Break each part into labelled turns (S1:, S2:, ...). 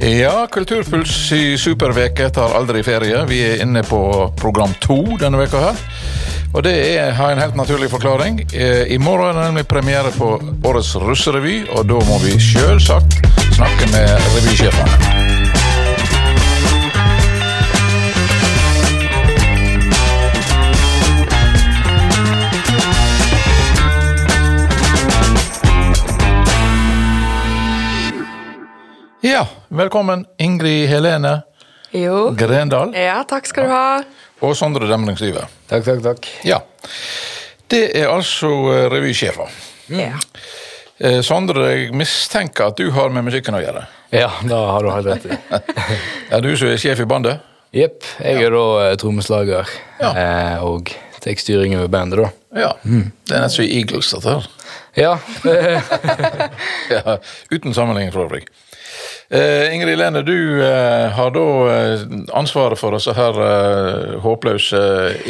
S1: Ja, Kulturpuls i superveke tar aldri ferie. Vi er inne på program to denne veka her. Og det er, har en helt naturlig forklaring. Eh, I morgen er det nemlig premiere på årets russerevy, og da må vi sjølsagt snakke med revysjefene. Ja, velkommen Ingrid Helene
S2: Jo.
S1: Grendal
S2: Ja, takk skal du ha.
S1: og Sondre Demningslivet.
S3: Takk, takk, takk.
S1: Ja. Det er altså eh, revysjefer.
S2: Ja.
S1: Eh, Sondre, jeg mistenker at du har med musikken å gjøre.
S3: Ja, da har du helt rett i.
S1: Er du som er sjef i bandet?
S3: Jepp. Jeg er da eh, trommeslager
S1: Ja.
S3: eh, og tek styringen med bandet, da.
S1: Ja. Det er nett som i Eagles, dette her.
S3: Ja. eh,
S1: Ja, uten sammenligning for øvrig. Eh, Ingrid Lene, du eh, har da eh, ansvaret for disse her eh, håpløse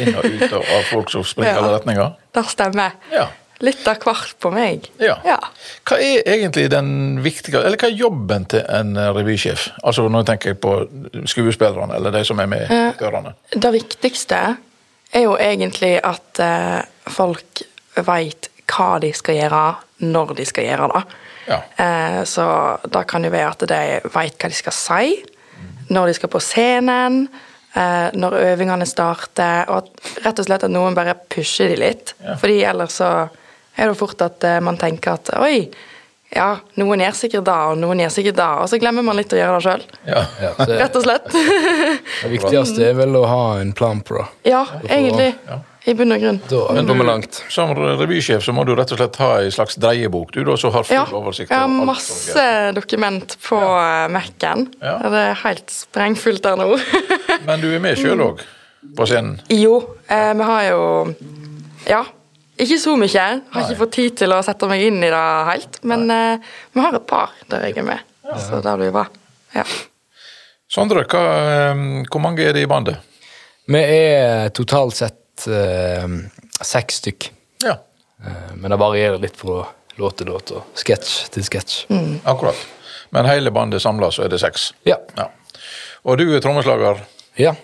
S1: inn og ut av av folk som springer i alle
S2: Ja.
S1: retninger.
S2: Det stemmer.
S1: Ja.
S2: Litt av hvert på meg.
S1: Ja. Hva er egentlig den viktige, eller hva er jobben til en eh, revysjef? Altså nå tenker jeg på skuespillerne, eller de som er med i ørene.
S2: Det viktigste er jo egentlig at eh, folk veit hva de skal gjøre, når de skal gjøre det.
S1: Ja.
S2: Eh, så det kan jo være at de veit hva de skal si, når de skal på scenen, eh, når øvingene starter, og at, rett og slett at noen bare pusher de litt.
S1: Ja.
S2: Fordi ellers så er det jo fort at eh, man tenker at oi, ja, noen gjør sikkert det, og noen gjør sikkert det, og så glemmer man litt å gjøre det sjøl.
S1: Ja.
S3: ja, så
S2: Rett og slett.
S3: det viktigste er vel å ha en plan på det.
S2: Ja, egentlig.
S1: Ja.
S2: I bunn og grunn.
S3: Da
S1: Men du-
S3: kommer vi langt.
S1: Som revysjef så må du rett og slett ha ei slags dreiebok, du da, som har full
S2: Ja, jeg
S1: oversikt. over
S2: har
S1: alt som
S2: masse dokument på eh, Mac-en.
S1: Ja.
S2: Og Det er helt sprengfullt der nå.
S1: skjer. Men du er med sjøl òg, på scenen.
S2: jo, eh, vi har jo Ja. Ikke så mye. Jeg Har ikke fått tid til å sette meg inn i det helt. Men eh, vi har et par der jeg er med, så det blir bra. Ja.
S1: Sondre, hva, eh, hvor mange er det i bandet?
S3: Vi er totalt sett eh, seks stykk.
S1: Ja,
S3: Eh, men det varierer litt fra låt til låt og sketsj til sketsj.
S1: Mm. akkurat. Men hele bandet samla, så er det seks.
S3: Ja.
S1: Ja. Og du er trommeslager.
S3: ja.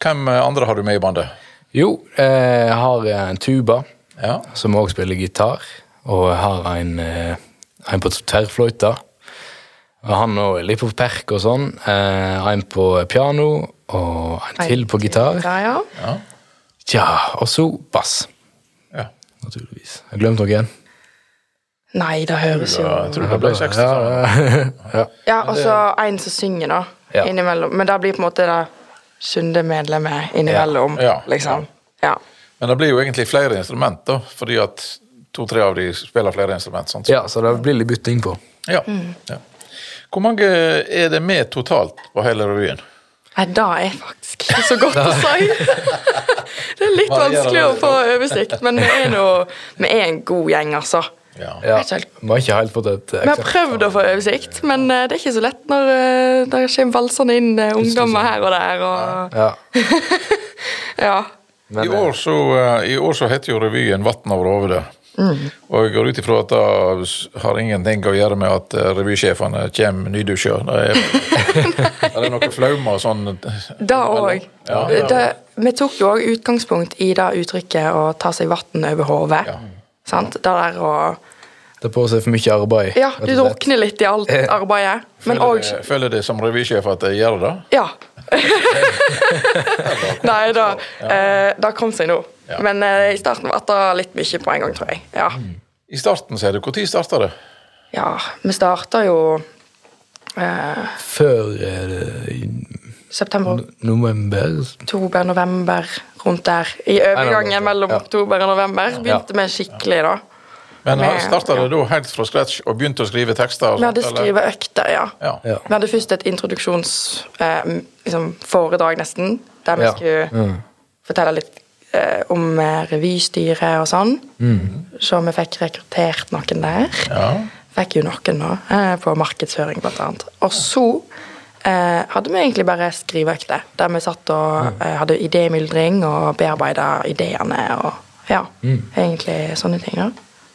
S1: Hvem eh, andre har du med i bandet?
S3: Jo, eh, jeg har en tuba.
S1: Ja,
S3: som òg spiller gitar, og har en, eh, en på tverrfløyta. Og han òg er litt på perk og sånn. Eh, en på piano, og en til på gitar.
S2: Ja, ja.
S3: Tja, og så bass,
S1: ja.
S3: naturligvis. Jeg glemte noen.
S2: Nei, det høres jo
S1: Jeg tror det ble seks.
S2: Ja, og så en som synger, da.
S3: Ja.
S2: Innimellom. Men det blir på en måte det sunne medlemmet innimellom,
S1: Ja. Ja.
S2: liksom. Ja.
S1: Men det blir jo egentlig flere instrument, da, fordi at to-tre av de spiller flere instrument. Sant?
S3: Ja, så det blir litt bytting på.
S1: Ja. ja. Hvor mange er det med totalt på hele revyen?
S2: Nei, det er faktisk ikke så godt å si. det er litt
S1: Varierer
S2: vanskelig å
S1: veldig.
S2: få oversikt, men vi er, nå, vi er en god gjeng, altså.
S1: Ja.
S3: Ja,
S2: Jeg vet ikke helt.
S3: Vi har ikke helt fått et
S2: Vi har prøvd å få oversikt, men eh, det er ikke så lett når eh, det kommer valsende inn eh, ungdommer her og der. Og,
S3: Ja,
S2: ja.
S1: I år, så, eh, I år så heter jo revyen 'Vatn over hovedet'. Og jeg går ut ifra at det s- har ingenting å gjøre med at eh, revysjefene kommer nydusja. Det er, er det noe flaume og sånn
S2: Det òg.
S1: Ja, ja.
S2: Det- Vi tok jo òg utgangspunkt i det uttrykket å ta seg vann over hodet.
S1: Ja.
S2: Sant? Det der å
S3: det er på seg for mye arbeid.
S2: Ja,
S3: rett og
S2: du
S3: slett.
S2: drukner litt i alt arbeidet, men
S1: Føler
S2: òg
S1: de- Føler de som revysjef at de gjør det?
S2: Ja. Nei da. eh, Det kom seg nå.
S1: Ja.
S2: Men eh, i starten var det litt mye på en gang, tror jeg. Ja,
S3: Mm.
S1: I starten, sier du. Når starta det?
S2: ja vi starta jo eh,
S3: Før eh, i
S2: september,
S3: november
S2: oktober, november, rundt der. I
S3: Ja,
S2: overgangen mellom
S3: ja.
S2: oktober og november begynte vi skikkelig, da.
S1: Men
S2: Med-
S1: Starta det da helt fra scratch og begynte å skrive tekster? og
S2: Vi hadde
S1: sånt, eller?
S2: skriveøkter, ja.
S1: Ja.
S3: Ja.
S2: Vi hadde først et introduksjonsforedrag, eh, liksom, foredrag nesten, der vi
S3: Ja. Mm.
S2: skulle fortelle litt eh, om eh, revystyret og sånn.
S3: Mm.
S2: Så vi fikk rekruttert noen der.
S1: Ja.
S2: Fikk jo noen nå, eh, på markedsføring blant annet. Og så eh, hadde vi egentlig bare skriveøkter, der vi satt
S3: Mm.
S2: og eh, hadde
S3: Mm.
S2: idémyldring og bearbeida ideene og ja, egentlig sånne ting. da.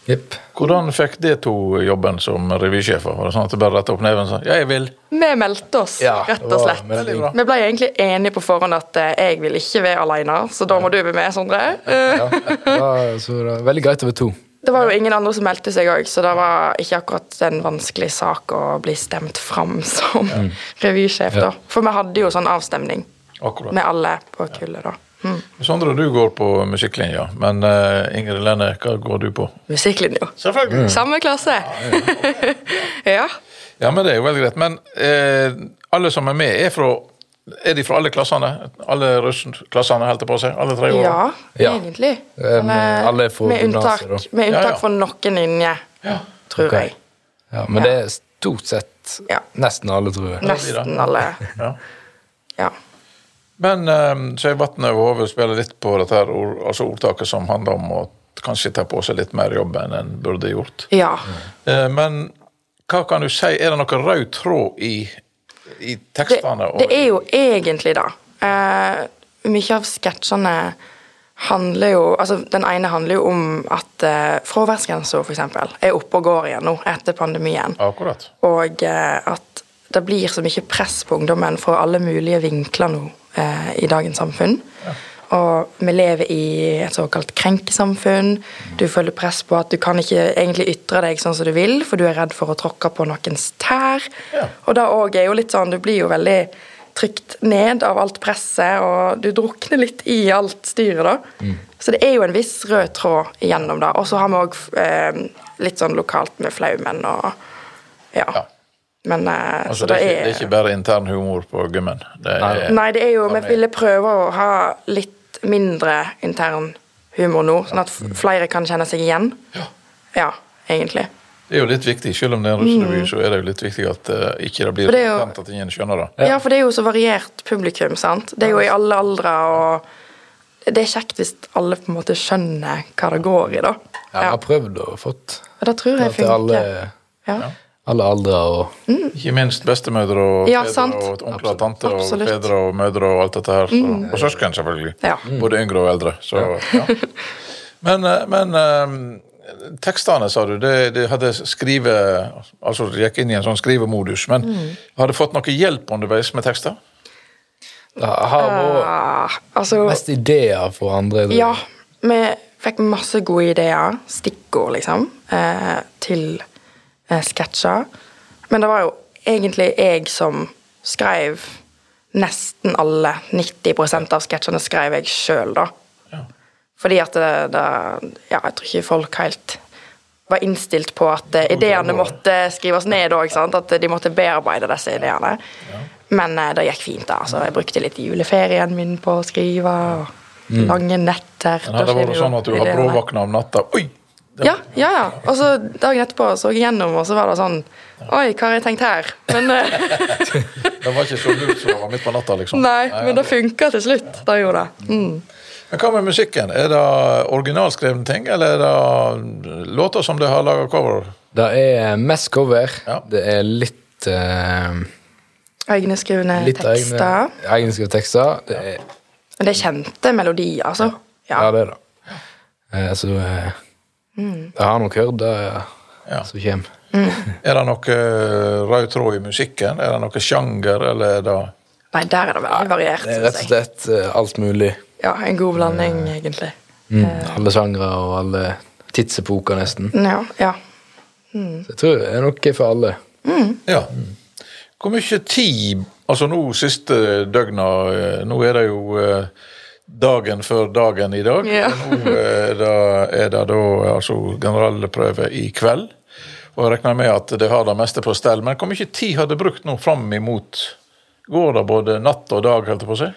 S3: Jepp.
S1: Hvordan fikk de to jobben som revysjefer? Var det sånn at du bare rettet opp neven og sa 'ja, jeg vil'?
S2: Vi meldte oss,
S3: Ja,
S2: rett
S3: det
S2: og
S3: var
S2: slett.
S3: veldig bra.
S2: Vi ble egentlig enige på forhånd at eh, jeg vil ikke være alene, så da må du bli med, Sondre. Eh,
S3: Ja, det var, så det var veldig greit å være to.
S2: Det var jo ingen andre som meldte seg òg, så det var ikke akkurat en vanskelig sak å bli stemt fram som
S3: Mm.
S2: revysjef, da. For vi hadde jo sånn avstemning
S1: Akkurat.
S2: med alle på kullet, da. Mm.
S1: Sondre, du går på musikklinja, men eh, Ingrid Lene, hva går du på? Mm.
S2: Musikklinja.
S1: Selvfølgelig.
S3: Mm.
S2: Samme klasse! ja.
S1: Ja, men det er jo veldig greit. Men eh, alle som er med, er fra er de fra alle klassene? Alle russklassene, holdt jeg på å si? Alle tre årene?
S2: ja,
S3: Ja.
S2: egentlig.
S3: Eh, men
S2: Eller-
S3: alle er fra
S2: med
S3: gymnaset,
S2: unntak,
S3: da.
S1: Ja,
S2: Med unntak
S1: ja.
S2: for noen linjer, tror
S3: Ok.
S2: jeg.
S3: Ja, men det er stort sett
S2: Ja.
S3: nesten alle, tror jeg.
S2: Nesten alle.
S1: Ja.
S2: Ja.
S1: Men eh, Skeivatnet over hodet spiller litt på dette her, ord, altså ordtaket som handler om å kanskje ta på seg litt mer jobb enn en burde gjort.
S2: ja.
S1: Eh, men hva kan du si, er det noen rød tråd i, i
S2: Det,
S1: tekstene? og-
S2: det er jo egentlig da. Eh, mye av sketsjene handler jo altså Den ene handler jo om at eh, fraværsgrensa f.eks. er oppe og går igjen nå etter pandemien.
S1: Akkurat.
S2: Og eh, at det blir så mye press på ungdommen fra alle mulige vinkler nå eh, i dagens samfunn. Og vi lever i et såkalt krenkesamfunn. Du føler press på at du kan ikke egentlig ytre deg sånn som du vil, for du er redd for å tråkke på noens tær.
S1: Ja.
S2: Og da òg er jo litt sånn Du blir jo veldig trykt ned av alt presset, og du drukner litt i alt styret, da. Så det er jo en viss rød tråd igjennom det. Og så har vi òg eh, litt sånn lokalt med flaumen og ja.
S1: Ja.
S2: Men eh,
S1: Altså, det,
S2: så
S1: er
S2: det
S1: ikke,
S2: er,
S1: det er ikke bare intern humor på gymmen. Det er,
S2: Nei, det er jo Vi ville prøve å ha litt mindre intern humor nå, sånn at f- flere kan kjenne seg igjen. Ja. egentlig.
S1: Det er jo litt viktig, selv om det er en russerevy, så er det jo litt viktig at eh, ikke det blir
S2: Mm. For det er jo-
S1: kontent at ingen skjønner det.
S2: Ja. for det er jo så variert publikum, sant. Det er jo i alle aldre, og det er kjekt hvis alle på en måte skjønner hva det går i, da.
S3: Jeg har prøvd og fått.
S2: Og det tror jeg
S3: Til alle,
S2: funker. Ja.
S3: alle aldre og
S1: Ikke minst bestemødre og
S2: Ja,
S1: fedre
S2: sant.
S1: og onkler og tanter og
S2: Absolutt. Mm.
S1: fedre og mødre og alt dette her. Så, Og søsken, selvfølgelig.
S2: Ja.
S1: Både yngre og eldre. Så, ja. Men, eh, men eh, tekstene, sa du, det, det hadde skrive... Altså, det gikk inn i en sånn skrivemodus, men
S2: Mm.
S1: har du fått noe hjelp underveis med tekster?
S3: Det har vært
S2: Ah, altså
S3: mest ideer for andre. tror jeg.
S2: Ja, vi fikk masse gode ideer, stikkord liksom, eh, til eh, sketsjer. Men det var jo egentlig jeg som skrev nesten alle. 90 av sketsjene skrev jeg sjøl, da. Fordi at det, det Ja, jeg tror ikke folk helt var innstilt på at eh, ideene måtte skrives ned òg. At de måtte bearbeide disse ideene. Men eh, det gikk fint, da. Altså, jeg brukte litt juleferien min på å skrive. og Lange netter.
S1: Men hadde
S2: da
S1: det vært
S2: skjer jo
S1: sånn at du har
S2: ideene.
S1: bråvåkna om natta, oi! det-
S2: Ja, ja, ja. Og så dagen etterpå så jeg gjennom, og så var det sånn Oi, hva har jeg tenkt her? Men, eh,
S1: Det var ikke så lurt som det var midt på natta, liksom.
S2: nei, men det funka til slutt. Det gjorde det. Mm.
S1: Men hva med musikken? Er det originalskrevne ting, eller er det låter som de har laga cover?
S3: Det er mest cover.
S1: Ja.
S3: Det er litt eh,
S2: Egne skrevne
S3: Litt
S2: tekster.
S3: egne egenskrevet tekster. Det er, ja.
S2: Men det er kjente melodier, altså. Ja. Mm.
S3: det er det. Eh, så eh, jeg har nok hørt det
S1: Ja.
S3: som kommer.
S1: Er det noe eh, rød tråd i musikken? Er det noe sjanger, eller er det
S2: Nei, der er det veldig variert.
S3: Det er rett
S2: synes
S3: og
S2: jeg.
S3: slett eh, alt mulig.
S2: Ja, En god blanding, egentlig. Eh.
S3: Alle sjangre og alle tidsepoker, nesten.
S2: Ja, ja.
S3: Så jeg tror det er noe for alle.
S1: Ja. Hvor mye tid Altså nå siste døgna eh, Nå er det jo eh, dagen før dagen i dag.
S2: Ja.
S1: Nå er det, er det da eh, altså generalprøve i kveld. Og jeg regner med at det har det meste på stell. Men hvor mye tid har det brukt nå fram imot Går det både natt og dag, holdt jeg på å si?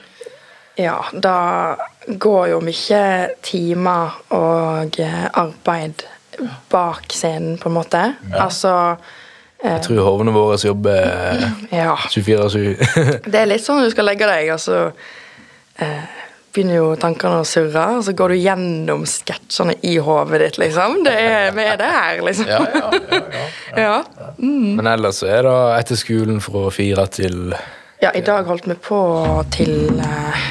S2: ja da går jo mye timer og eh, arbeid bak scenen, på en måte. Altså
S3: Jeg tror hovene våre jobber eh,
S2: Ja.
S3: 24-7.
S2: Det er litt sånn du skal legge deg, og så eh, begynner jo tankene å surre, og så går du gjennom sketsjene i hodet ditt, liksom. Det er, vi er der, liksom.
S1: Ja, ja, ja, ja.
S2: Ja. Mm.
S3: Men ellers så er det etter skolen fra fire til
S2: Ja, i dag holdt vi på til eh,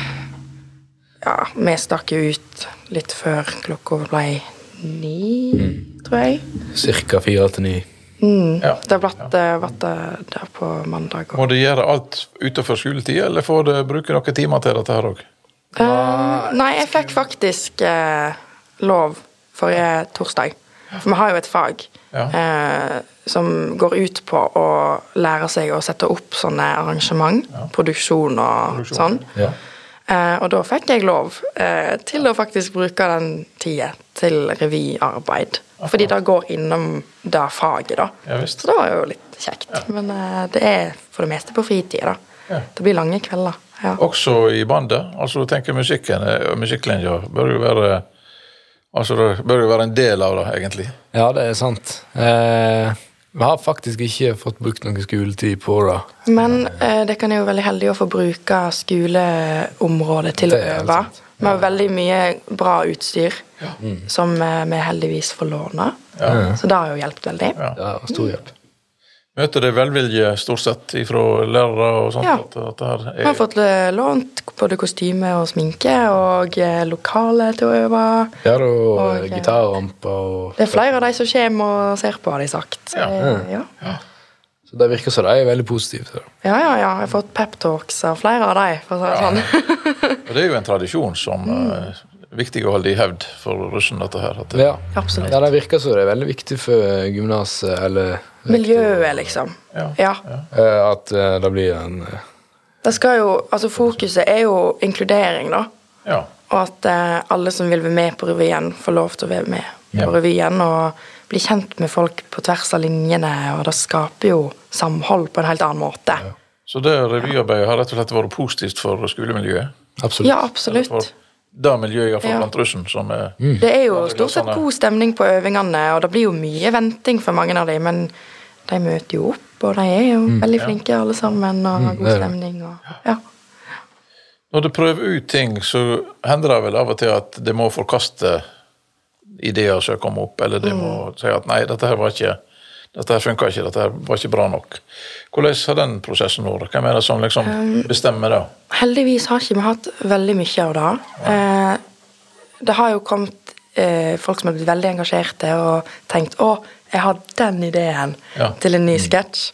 S2: Ja, vi stakk jo ut litt før klokka ble ni,
S1: Mm.
S2: tror jeg.
S3: Cirka fire til ni.
S1: Ja.
S2: Det har vært, eh, vært eh, der på mandag.
S1: Må
S2: Og.
S1: du gjøre alt utenfor skoletid, eller får du bruke noen timer til dette her òg?
S2: Eh, nei, jeg fikk faktisk eh, lov forrige torsdag. For vi har jo et fag
S1: Ja.
S2: eh, som går ut på å lære seg å sette opp sånne arrangement. Produksjon og
S1: Produksjon,
S2: sånn.
S3: Ja.
S2: Eh, og da fikk jeg lov eh, til å faktisk bruke den tida til revyarbeid. Fordi det går innom det faget, da.
S1: Ja, visst.
S2: Så det var jo litt kjekt. Men eh, det er for det meste på fritida, da.
S1: Ja.
S2: Det blir lange kvelder. Ja.
S1: Også i bandet? Altså, tenker musikken, eh, musikklinja bør jo være Altså, det bør jo være en del av det, egentlig.
S3: ja, det er sant. Eh, vi har faktisk ikke fått brukt noe skoletid på det.
S2: Men eh, det kan jeg jo veldig heldig å få bruke skoleområdet til å
S3: Det er helt
S2: øve.
S3: sant.
S2: Vi har veldig mye bra utstyr som eh, vi heldigvis får låne. Så det har jo hjulpet veldig.
S1: Ja.
S3: Det var stor hjelp.
S1: Møter det velvilje stort sett ifra lærere og sånt?
S2: Ja.
S1: At, at det her
S2: Vi har
S1: er,
S2: fått eh, lånt både kostyme og sminke og eh, lokale til å øve.
S3: Ja, da, og
S2: Og, eh,
S3: gitarramper og
S2: Det er flere av de som kommer og ser på, har de sagt. Så,
S1: Ja.
S2: eh, ja.
S3: Så det virker som de er veldig positive til det.
S2: ja, ja, ja. Jeg har fått peptalks av flere av de, for å si det sånn.
S1: og det er jo en tradisjon som
S2: Mm.
S1: eh, er viktig å holde i hevd for russen, dette her. At det,
S3: Ja.
S2: Absolutt.
S3: Ja, det virker som det er veldig viktig for gymnaset, eller
S2: Miljøet, liksom.
S1: Ja.
S2: Ja.
S3: eh, At eh, det blir en eh,
S2: Det skal jo, altså Fokuset er jo inkludering, da.
S1: ja.
S2: Og at eh, alle som vil være med på revyen, får lov til å være med
S1: Ja.
S2: på revyen. Og bli kjent med folk på tvers av linjene, og det skaper jo samhold på en helt annen måte.
S1: Så det revyarbeidet har rett og slett vært positivt for skolemiljøet?
S3: Absolutt.
S2: Ja,
S1: Eller for
S2: absolutt.
S1: det miljøet, iallfall
S2: Ja.
S1: blant russen, som er
S3: Mm.
S2: Det er jo
S1: Ja, det er
S2: stort sett
S1: sånn, ja.
S2: god stemning på øvingene, og det blir jo mye venting for mange av dem, men de møter jo opp, og de er jo veldig flinke alle sammen, og har god
S3: Mm. det er det.
S2: stemning. Og, ja.
S1: Når du prøver ut ting, så hender det vel av og til at det må forkaste ideer som kommer opp, eller det må si at nei, dette her var ikke dette her funka ikke, dette her var ikke bra nok. Hvordan har den prosessen vært? Hvem er det som liksom bestemmer det?
S2: Heldigvis har ikke vi hatt veldig mye av det. Eh, det har jo kommet eh, folk som har blitt veldig engasjerte og tenkt 'Å, jeg har den ideen
S1: Ja.
S2: til en ny sketsj',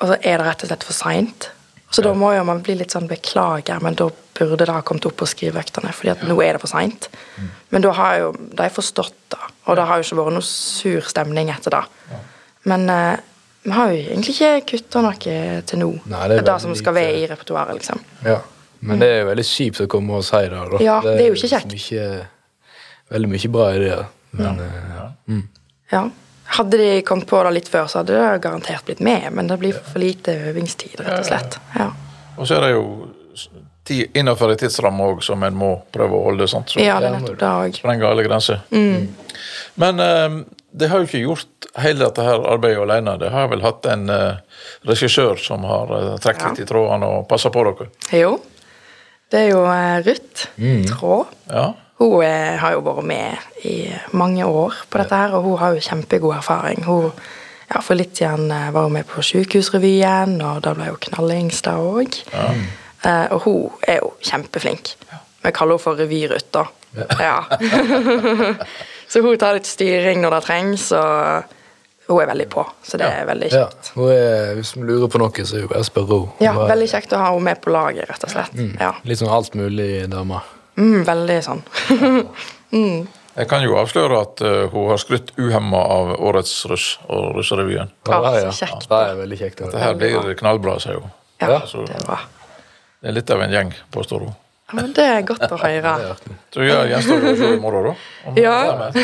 S2: og så er det rett og slett for seint. Så da må jo man bli litt sånn 'beklager', men da burde det ha kommet opp på skriveøktene, fordi at nå er det for seint. Men da har jo de forstått det, og det har jo ikke vært noe sur stemning etter det. Men eh, vi har jo egentlig ikke kutta noe til nå.
S3: Nei,
S2: det
S3: det
S2: er
S3: er
S2: det
S3: veldig
S2: som skal
S3: lite-
S2: være i repertoaret, liksom.
S3: Ja. Men det er jo veldig kjipt å komme og si det. Da.
S2: Ja, det er jo ikke
S3: liksom ikke veldig mye bra ideer. Men eh,
S2: Ja. Hadde de kommet på det litt før, så hadde det garantert blitt med, men det blir for lite øvingstid, rett og slett. Ja,
S1: Og så er det jo tid innenfor en tidsramme òg som en må prøve å holde, sant? Så
S2: ja det er nettopp det òg.
S1: sprenger alle grenser. Men eh, det har jo ikke gjort hele dette her arbeidet alene. Det har vel hatt en eh, regissør som har eh, trukket litt i trådene og passa på dere.
S2: Jo. Det er jo eh, Ruth Traa.
S1: Ja,
S2: Hun eh, har jo vært med i mange år på dette her, og hun har jo kjempegod erfaring. Hun ja, For litt siden eh, var hun med på Sjukehusrevyen, og da ble hun knallings da òg. Eh, og hun er jo kjempeflink. Vi kaller henne for Revyruth, da. Ja. så hun tar litt styring når det trengs, og hun er veldig på. Så det er veldig
S3: ja,
S2: kjekt.
S3: hun er, hvis vi lurer på noe, så er det jo bare å spørre henne.
S2: Ja,
S3: Hun er
S2: veldig kjekt å ha henne med på laget, rett og slett. Ja.
S3: Litt sånn altmulig-dame.
S2: Mm, veldig sånn.
S1: Jeg kan jo avsløre at eh, hun har skrytt uhemma av årets russ og russerevyen.
S2: Ja,
S3: det er-
S2: så kjekt,
S3: Det er veldig kjekt.
S1: Dette her blir knallbra, sier hun.
S2: Ja,
S1: så-
S2: det er bra.
S1: Det er litt av en gjeng, påstår hun.
S2: Ja, men det er godt å høre.
S1: Så ja, gjenstår det å se i morgen, da. om hun
S2: Ja.
S1: er med.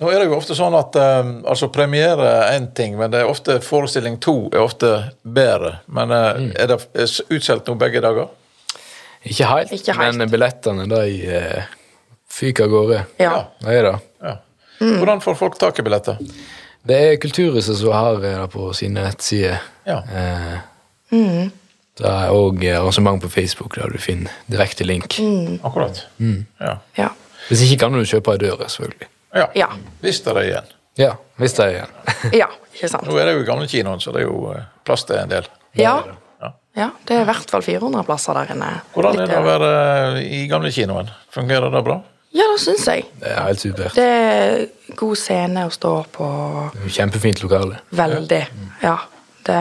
S1: Nå er det jo ofte sånn at eh, altså premiere er én ting, men det er ofte forestilling to er ofte bedre. Men eh, er det er s- utsolgt nå begge dager?
S3: Ikke helt,
S2: Ikke helt.
S3: men billettene de eh, fyker av gårde.
S2: Ja.
S3: Det er det.
S1: Ja. Hvordan får folk tak i billetter?
S3: Det er Kulturhuset som har eh, det på sine nettsider.
S1: Ja.
S3: Eh,
S2: Mm.
S3: Det er òg arrangement på Facebook der du finner direkte
S2: Mm.
S3: link.
S1: Akkurat. Ja.
S2: Ja.
S3: Hvis ikke kan du kjøpe ei dør, selvfølgelig.
S1: Ja.
S2: Ja.
S1: Hvis det er igjen.
S3: Ja, hvis det er igjen.
S2: ja, ikke sant?
S1: Nå er det jo gamle kinoen, så det er jo eh, plass til en del.
S2: Ja.
S1: Ja.
S2: ja. Det er i hvert fall 400 plasser der inne.
S1: Hvordan er
S2: Litt
S1: det å
S2: over.
S1: være i gamle kinoen? Fungerer det bra?
S2: Ja, det syns jeg.
S3: Det er helt supert.
S2: Det er god scene å stå på.
S3: Kjempefint lokale.
S2: Veldig. Ja. Det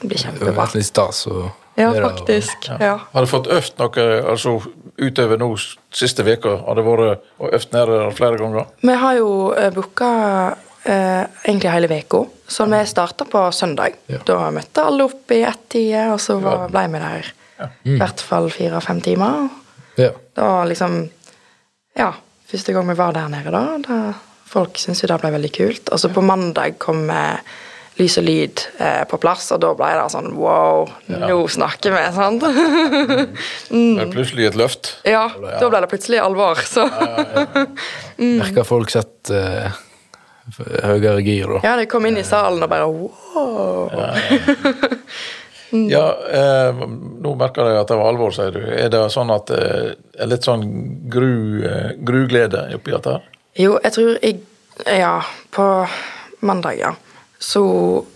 S2: blir
S3: Det har
S2: kjempebra.
S3: vært litt stas å
S2: Ja,
S3: være der og-
S2: faktisk. Ja.
S1: Har du fått øvd noe altså, utover nå s- siste veka? Har det vært og øvd nede der flere ganger?
S2: Vi har jo eh, booka eh, egentlig hele veka, så vi starta på søndag.
S3: Ja.
S2: Da møtte alle opp i ett-tida, og så var, ble vi der i hvert fall fire-fem timer.
S3: Ja.
S2: Det var liksom Ja, første gang vi var der nede, da. da folk syntes jo det ble veldig kult. Og så på mandag kom eh, Lys og lyd eh, på plass, og da ble det sånn wow, nå snakker vi, sant? Mm.
S1: Det er plutselig et løft.
S2: ja, da ble det plutselig alvor, så Mm.
S3: Merker folk sett eh, høyere gir, da.
S2: Ja, de kom inn i salen og bare wow. Mm.
S1: Ja, eh, nå merker jeg at det var alvor, sier du. Er det sånn at eh, er litt sånn gru, eh, gruglede oppi dette her?
S2: Jo, jeg tror jeg Ja, på mandag, ja. Så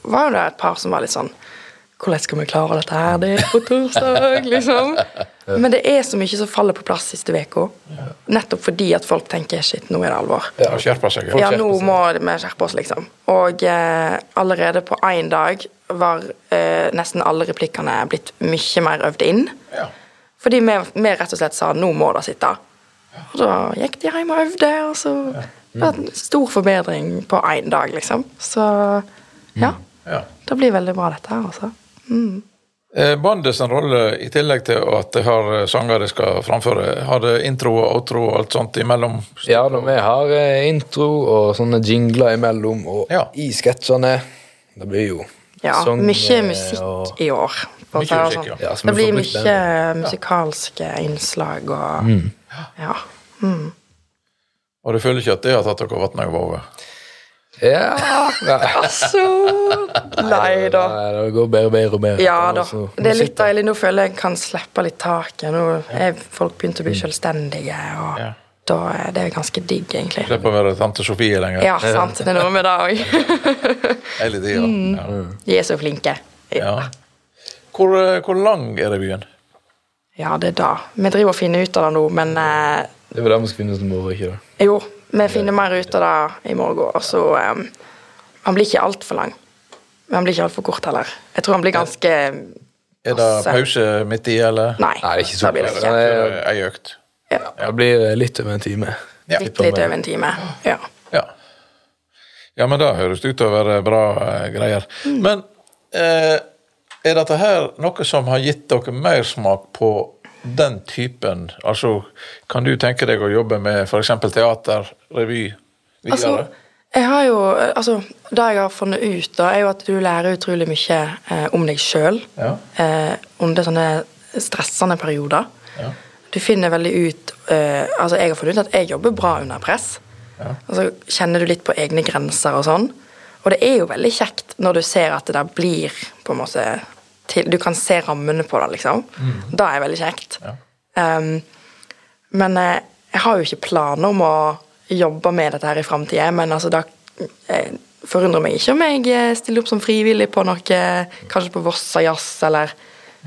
S2: var jo det et par som var litt sånn Hvordan skal vi klare dette her? Det er på torsdag, liksom. Men det er så mye som faller på plass siste uka. Nettopp fordi at folk tenker shit, nå er det alvor.
S1: Ja, skjerper seg. Ja.
S2: Ja, nå må vi skjerpe oss, liksom. Og eh, allerede på én dag var eh, nesten alle replikkene blitt mye mer øvd inn.
S1: Ja.
S2: Fordi vi, vi rett og slett sa 'nå må det sitte'. Og da gikk de hjem og øvde, og så Det var en stor forbedring på én dag, liksom. Så ja.
S1: Mm. Ja.
S2: Det blir veldig bra, dette her, altså.
S1: Eh, Bandet sin rolle, i tillegg til at de har eh, sanger de skal framføre, har det intro og outro og alt sånt imellom?
S3: Ja, da, vi har eh, intro og sånne jingler imellom, og
S1: Ja.
S3: i sketsjene Det blir jo
S2: Ja,
S3: sang,
S2: mye
S3: eh,
S2: musikk
S3: og-
S2: i år. for å
S1: Mye
S2: si det
S1: musikk,
S2: sånn.
S1: ja.
S3: Ja, så
S2: Det
S3: vi
S2: blir
S3: får brukt
S2: mye musikalske innslag og
S1: Mm.
S2: Ja.
S1: Og du føler ikke at det har tatt dere vann over hodet?
S3: Ja, nei,
S2: Altså Nei da.
S3: nei, det går bedre og bedre og bedre.
S2: Ja da.
S3: Altså,
S2: Det er litt
S3: musikken-
S2: deilig. Nå føler jeg jeg kan slippe litt taket. Nå er folk begynt å
S3: Mm.
S2: bli selvstendige, og
S1: Ja.
S2: da er det ganske digg, egentlig.
S1: Slipper å være tante Sofie lenger?
S2: Ja, sant. Det er noe med det òg.
S1: Hele tida. Ja.
S2: De er så flinke.
S1: Ja. Hvor, eh, hvor lang er revyen?
S2: Ja, det er det. Vi driver og finner ut av det nå, men eh,
S3: Det er vel det vi skal finne ut i morgen, ikke det?
S2: jo. Vi finner mer ut av det i morgen. Og så eh, Han blir ikke altfor lang. Men han blir ikke altfor kort heller. Jeg tror han blir ganske eh,
S1: Er det
S2: Altså-
S1: pause midt i, eller?
S2: Nei,
S3: Nei, det er ikke så
S2: blir det
S3: kort.
S1: Så
S2: ikke.
S1: det er Ei økt.
S2: Ja.
S3: Det blir eh, litt over en time.
S1: Ja.
S2: Litt, litt over en time. Ja.
S1: Ja. ja, men det høres ut til å være bra eh, greier.
S2: Mm.
S1: Men eh, er dette her noe som har gitt dere mersmak på den typen? Altså, kan du tenke deg å jobbe med f.eks. teater, revy videre?
S2: Altså, jeg har jo, altså, det jeg har funnet ut, da, er jo at du lærer utrolig mye eh, om deg sjøl
S1: Ja.
S2: eh, under sånne stressende perioder.
S1: Ja.
S2: Du finner veldig ut eh, altså Jeg har funnet ut at jeg jobber bra under press. Og så kjenner du litt på egne grenser og sånn. Og det er jo veldig kjekt når du ser at det der blir på en måte til, Du kan se rammene på det, liksom.
S1: Mm.
S2: Det er veldig kjekt. Ehm, men eh, jeg har jo ikke planer om å jobbe med dette her i framtida. Men altså, da eh, forundrer meg ikke om jeg eh, stiller opp som frivillig på noe, kanskje på Vossa Jazz, eller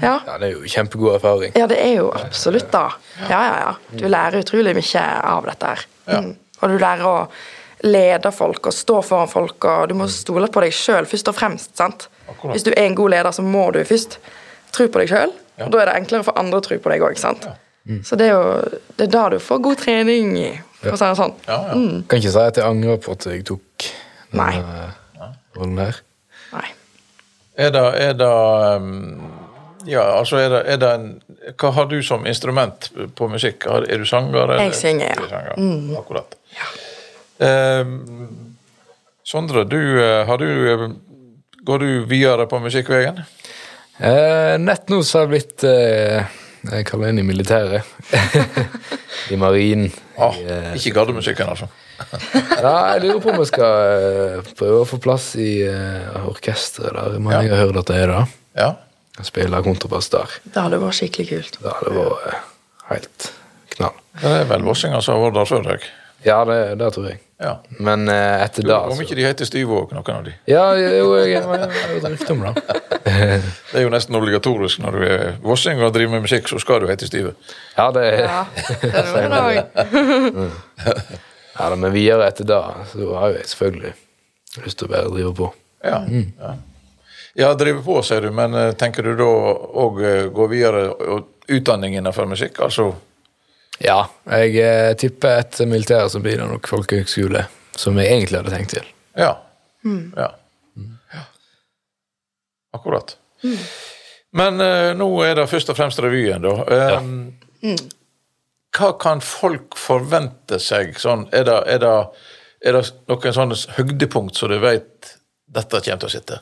S2: ja.
S3: Ja, Det er jo kjempegod erfaring.
S2: ja, det er jo absolutt da. Ja, ja, ja. Du lærer utrolig mye av dette her. Mm. Og du lærer å lede folk og stå foran folk, og du må stole på deg sjøl først og fremst. sant?
S1: Akkurat.
S2: Hvis du er en god leder, så må du først tro på deg sjøl.
S1: Ja.
S2: Da er det enklere for andre å tro på deg òg. Så det er jo det er da du får god trening i, for å si det sånn.
S1: Ja, ja.
S3: Kan ikke si at jeg angrer på at jeg tok denne
S2: Nei.
S3: eh, rollen her.
S2: Mm. Nei.
S1: Er det, er det um, Ja, altså, er det, er det en Hva har du som instrument på musikk? Har- Er du sanger? eller-
S2: Jeg synger, ja. Mm.
S1: Du er sanger, Akkurat. Um, Sondre, du, eh, har du eh, Går du videre på musikkveien?
S3: Eh, nett nå så har jeg blitt eh, Jeg kaller inn i militæret. I marinen.
S1: Ah,
S3: I, eh,
S1: ikke gardemusikken, altså.
S3: ja, jeg lurer på om jeg skal eh, prøve å få plass i eh, orkesteret der. Men jeg har hørt at det er det.
S1: Ja.
S3: Jeg Spiller kontrabass der.
S2: Det hadde vært skikkelig kult.
S3: Det hadde vært eh, helt knall.
S1: Det er vel vossinger som har vært der før deg.
S3: Ja, det, det tror jeg.
S1: Ja.
S3: Men eh, etter det
S1: Om ikke de heter Styvåg, noen av de.
S3: Ja, jo, jeg er rykteomla.
S1: Det er jo nesten obligatorisk når du er vossing og driver med musikk, så skal du hete Styve.
S3: Ja, det
S2: Ja, det er noe i dag.
S3: Ja, da, men videre etter det så har jeg selvfølgelig lyst til å bare drive på.
S1: Ja. ja. Ja, drive på, sier du, men eh, tenker du da òg eh, gå videre og utdanning innenfor musikk? Altså
S3: Ja, jeg eh, tipper etter militæret så blir det nok folkehøgskole, som jeg egentlig hadde tenkt til.
S1: Ja. ja. Ja. Akkurat. Men eh, nå er det først og fremst revyen, da. Eh, Hva kan folk forvente seg? Sånn, er, det, er, det, er det noen sånne høydepunkt som du vet dette kommer til å sitte?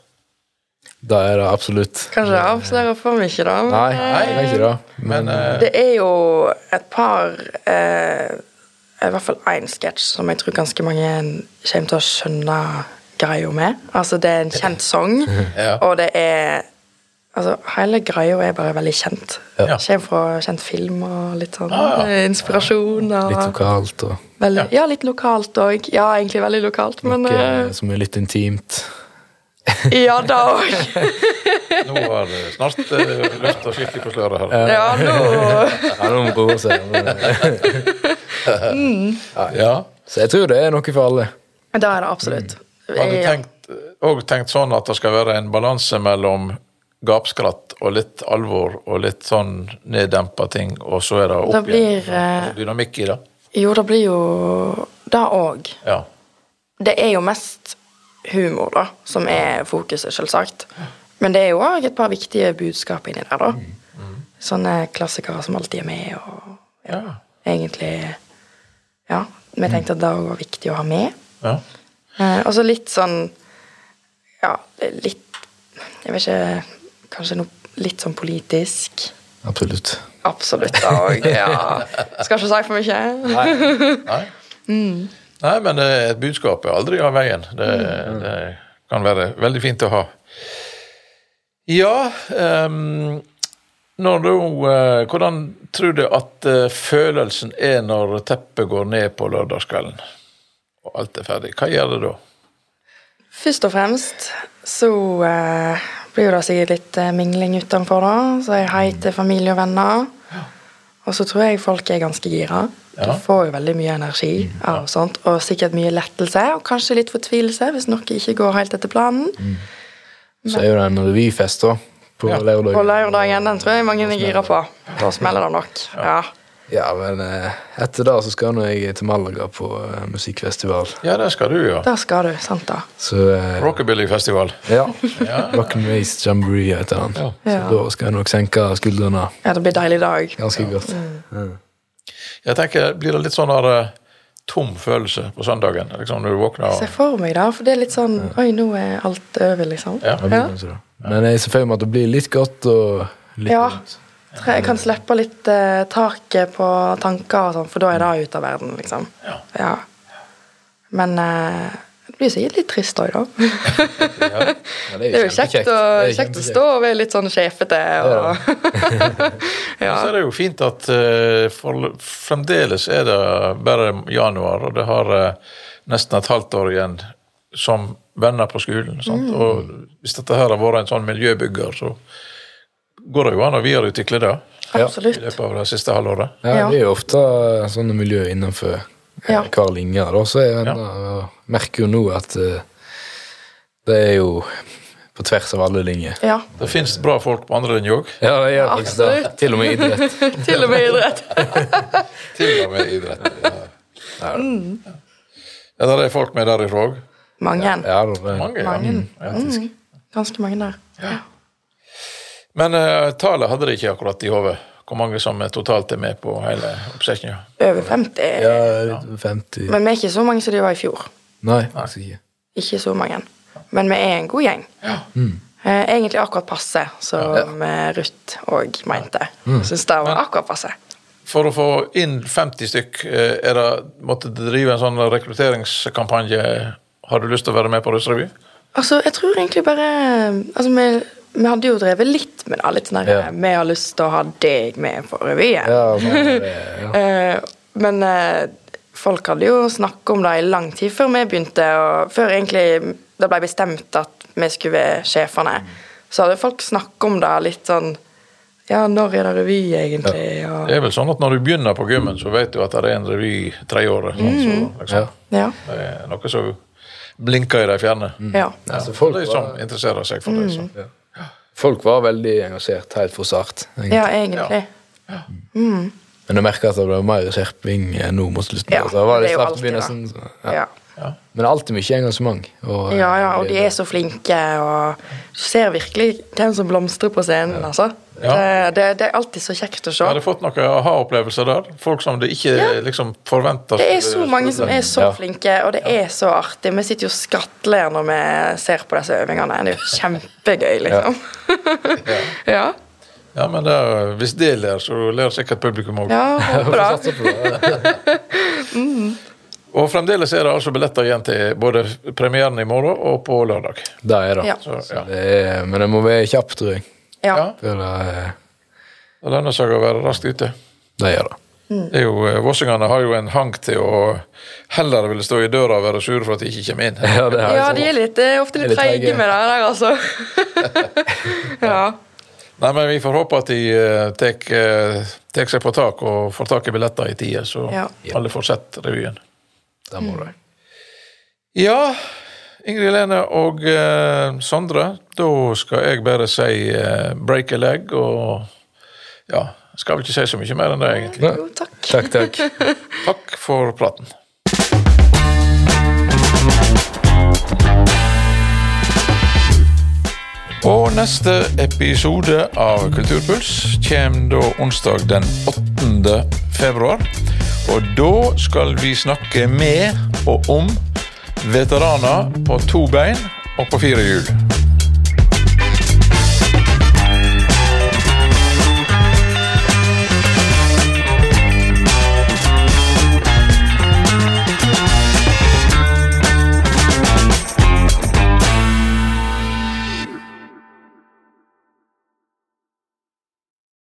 S3: Da er det absolutt
S2: Kanskje jeg avslører for mye, da. men,
S3: Nei,
S2: eh,
S3: jeg vet ikke det. Men
S1: Men eh,
S2: Det er jo et par eh, I hvert fall én sketsj som jeg tror ganske mange kommer til å skjønne greia med. Altså, det er en kjent sang,
S1: Ja.
S2: og det er Altså, hele greia er bare veldig kjent.
S1: Ja.
S2: Kommer fra kjent film og litt sånn
S1: Ah, ja. sånn.
S2: eh, inspirasjon. Og,
S3: litt lokalt og
S2: veldig, ja. litt lokalt òg. Ja, egentlig veldig lokalt, men
S3: noe som er eh, litt intimt.
S2: eh, Ja da òg.
S1: nå har det snart eh, løfta skikkelig på sløret her.
S2: Ja, nå
S3: Ja, noen roer seg. men-
S1: Ja.
S3: Så jeg tror det er noe for alle.
S2: Da er det absolutt.
S1: Har du
S2: Eh, Ja.
S1: tenkt, og tenkt sånn at det skal være en balanse mellom gapskratt og litt alvor og litt sånn neddempa ting, og så er det
S2: Det
S1: opp igjen?
S2: blir eh,
S1: Dynamikk i det?
S2: Jo, det blir jo det òg.
S1: Ja.
S2: Det er jo mest humor, da, som er fokuset, selvsagt. Men det er jo òg et par viktige budskap inni der, da. Sånne klassikere som alltid er med, og
S1: Ja.
S2: egentlig Ja, vi tenkte at det òg var viktig å ha med.
S1: ja.
S2: Eh, og så litt sånn Ja, litt Jeg vet ikke Kanskje noe litt sånn politisk.
S3: Absolutt.
S2: Absolutt det òg. Ja. Skal ikke si for mye.
S1: Nei. Nei, men det, et budskap er aldri av veien. Det,
S2: Mm.
S1: det kan være veldig fint å ha. Ja ehm, når du, eh, Hvordan tror du at eh, følelsen er når teppet går ned på lørdagskvelden, og alt er ferdig? Hva gjør det da?
S2: Først og fremst så eh, blir jo det sikkert litt eh, mingling utenfor, da. Så jeg hei
S1: Mm.
S2: til familie og venner. Og så tror jeg folk er ganske gira.
S1: Ja. Mm,
S2: Du får jo veldig mye energi av sånt, og sikkert mye lettelse, og kanskje litt fortvilelse hvis noe ikke går helt etter planen.
S1: Mm.
S3: Så er jo det en revyfest da, på
S1: Ja.
S3: lørdag.
S2: Og lørdagen, den tror jeg mange er gira på. Da smeller det nok. Ja.
S3: Ja, men eh, etter det så skal nå jeg til Malaga på eh, musikkfestival.
S1: Ja, det skal du, ja.
S2: Der skal du, sant da.
S3: Så eh,
S1: Rockabillyfestival.
S3: ja. Rock and Race Jamboree heter han.
S2: Ja.
S3: Så da skal jeg nok senke skuldrene
S2: Ja, det blir deilig dag.
S3: ganske godt.
S1: Jeg tenker, Blir det litt sånn der, eh, tom følelse på søndagen liksom når du våkner?
S2: Se
S1: Og,
S2: for meg, da, for det er litt sånn Oi, nå er alt over, liksom.
S1: Ja.
S3: Jeg blir kanskje det. Men jeg ser for meg at det blir litt godt og litt
S2: Ja.
S3: vondt.
S2: Tre- Jeg kan slippe litt eh, taket på tanker og sånn, for da er det ute av verden, liksom.
S1: Ja.
S2: Men eh, det blir sikkert litt trist òg, da.
S3: Ja,
S2: Det er jo kjekt, å,
S3: Det er
S2: kjekt å stå og være litt sånn sjefete. Og, ja.
S1: Så er det jo fint at eh, for, fremdeles er det bare januar, og det har eh, nesten et halvt år igjen som venner på skolen. Sant? Og hvis dette her har vært en sånn miljøbygger, så går det jo an å videreutvikle det i
S2: Absolutt.
S1: løpet av det siste halvåret.
S3: Ja,
S2: Ja.
S3: det er jo ofte sånne miljø innenfor eh,
S2: Ja.
S3: hver linje. Da, så jeg merker jo nå at eh, det er jo på tvers av alle linjer.
S2: Ja,
S1: Det fins bra folk på andre linje òg,
S3: Ja, det gjør faktisk det.
S2: Absolutt.
S3: Til og med idrett.
S2: til og med idrett.
S1: til og med idrett. Ja, Ja. ja der er folk med derifra òg.
S2: Mange.
S3: Ja, da, det,
S1: Mange. ja.
S2: Mange.
S1: Ja.
S2: Mm, ganske mange der. Ja.
S1: Men eh, tallet hadde de ikke akkurat i hodet. Hvor mange som eh, totalt er med på hele oppsetninga.
S2: Over 50.
S3: ja, litt 50
S2: Men vi er ikke så mange som de var i fjor.
S3: Nei, faktisk ikke.
S2: Ikke så mange. Men vi er en god gjeng. Eh, Egentlig akkurat passe, som eh, Ruth òg mente.
S3: Mm.
S2: Syns det var akkurat passe.
S1: For å få inn 50 stykk, eh, er det, måtte du drive en sånn rekrutteringskampanje? Har du lyst til å være med på Russrevy?
S2: Altså, jeg tror egentlig bare Altså, vi, vi hadde jo drevet litt med det. Litt sånn der,
S3: Ja.
S2: Vi har lyst til å ha deg med på revyen.
S3: Ja, men, eh, ja.
S2: Eh, men eh, folk hadde jo snakket om det i lang tid før vi begynte, og før egentlig det ble bestemt at vi skulle være sjefene. Så hadde folk snakket om det litt sånn Ja, når er det revy, egentlig? Og,
S1: Det er vel sånn at når du begynner på gymmen, så vet du at det er en revy tre år. Sånn, så, liksom,
S3: Ja.
S2: ja.
S1: Det er noe som blinker i det fjerne.
S2: ja.
S1: Ja,
S3: Altså,
S1: for
S3: folk
S1: de som interesserer seg for det. Så.
S3: Folk var veldig engasjert helt fra start. egentlig.
S2: Ja, egentlig.
S3: Men jeg merker at det ble mer skjerping eh, nå mot slutten.
S2: Ja,
S3: altså, det var
S2: det
S3: litt
S2: er jo
S3: slapt i
S2: alltid det.
S3: begynnelsen. så- Ja.
S2: Ja.
S3: Men alltid mye engasjement. Og, eh,
S2: Ja, ja, og de er så flinke, og du ser virkelig hvem som blomstrer på scenen, altså.
S1: Ja.
S2: Det, det, det er alltid så kjekt å se.
S1: Har du fått noen aha-opplevelser der? Folk som det ikke liksom forventer
S2: Det er så mange som er så
S3: Ja.
S2: flinke, og det er så artig. Vi sitter jo og skrattler når vi ser på disse øvingene. Det er jo kjempegøy, liksom. Ja,
S1: Ja, men det er, Hvis det ler, så ler sikkert publikum òg.
S2: ja håper det.
S3: Satser på det.
S1: Og fremdeles er det altså billetter igjen til både premieren i morgen og på lørdag.
S3: Det er det.
S2: Ja.
S1: Så, ja.
S3: Så det er, men det må være kjapt, tror jeg.
S2: Ja.
S1: Ja.
S3: Før det, eh,
S1: Det lønner seg å være raskt ute.
S3: det gjør det.
S2: Mm.
S1: Det er jo, eh, Vossingene har jo en hang til å heller ville stå i døra og være sure for at de ikke kommer inn.
S3: Ja, det er,
S2: ja, de er litt, det er ofte litt
S3: Det er
S2: treige
S3: litt treige.
S2: med det der, altså. Ja.
S1: Nei, men Vi får håpe at de eh, tek, eh, tek seg på tak og får tak i billetter i tide, så
S2: Ja.
S1: alle får sett revyen.
S3: det
S2: Mm.
S3: må du.
S1: Ja, Ingrid Lene og eh, Sondre, da skal jeg bare si eh, break a leg og Ja, skal vel ikke si så mye mer enn det, egentlig.
S3: Ja.
S2: Jo, takk.
S3: Takk, takk.
S1: Takk for praten. Og neste episode av Kulturpuls kommer da onsdag den 8. februar. Og da skal vi snakke med og om veteraner på to bein og på fire hjul.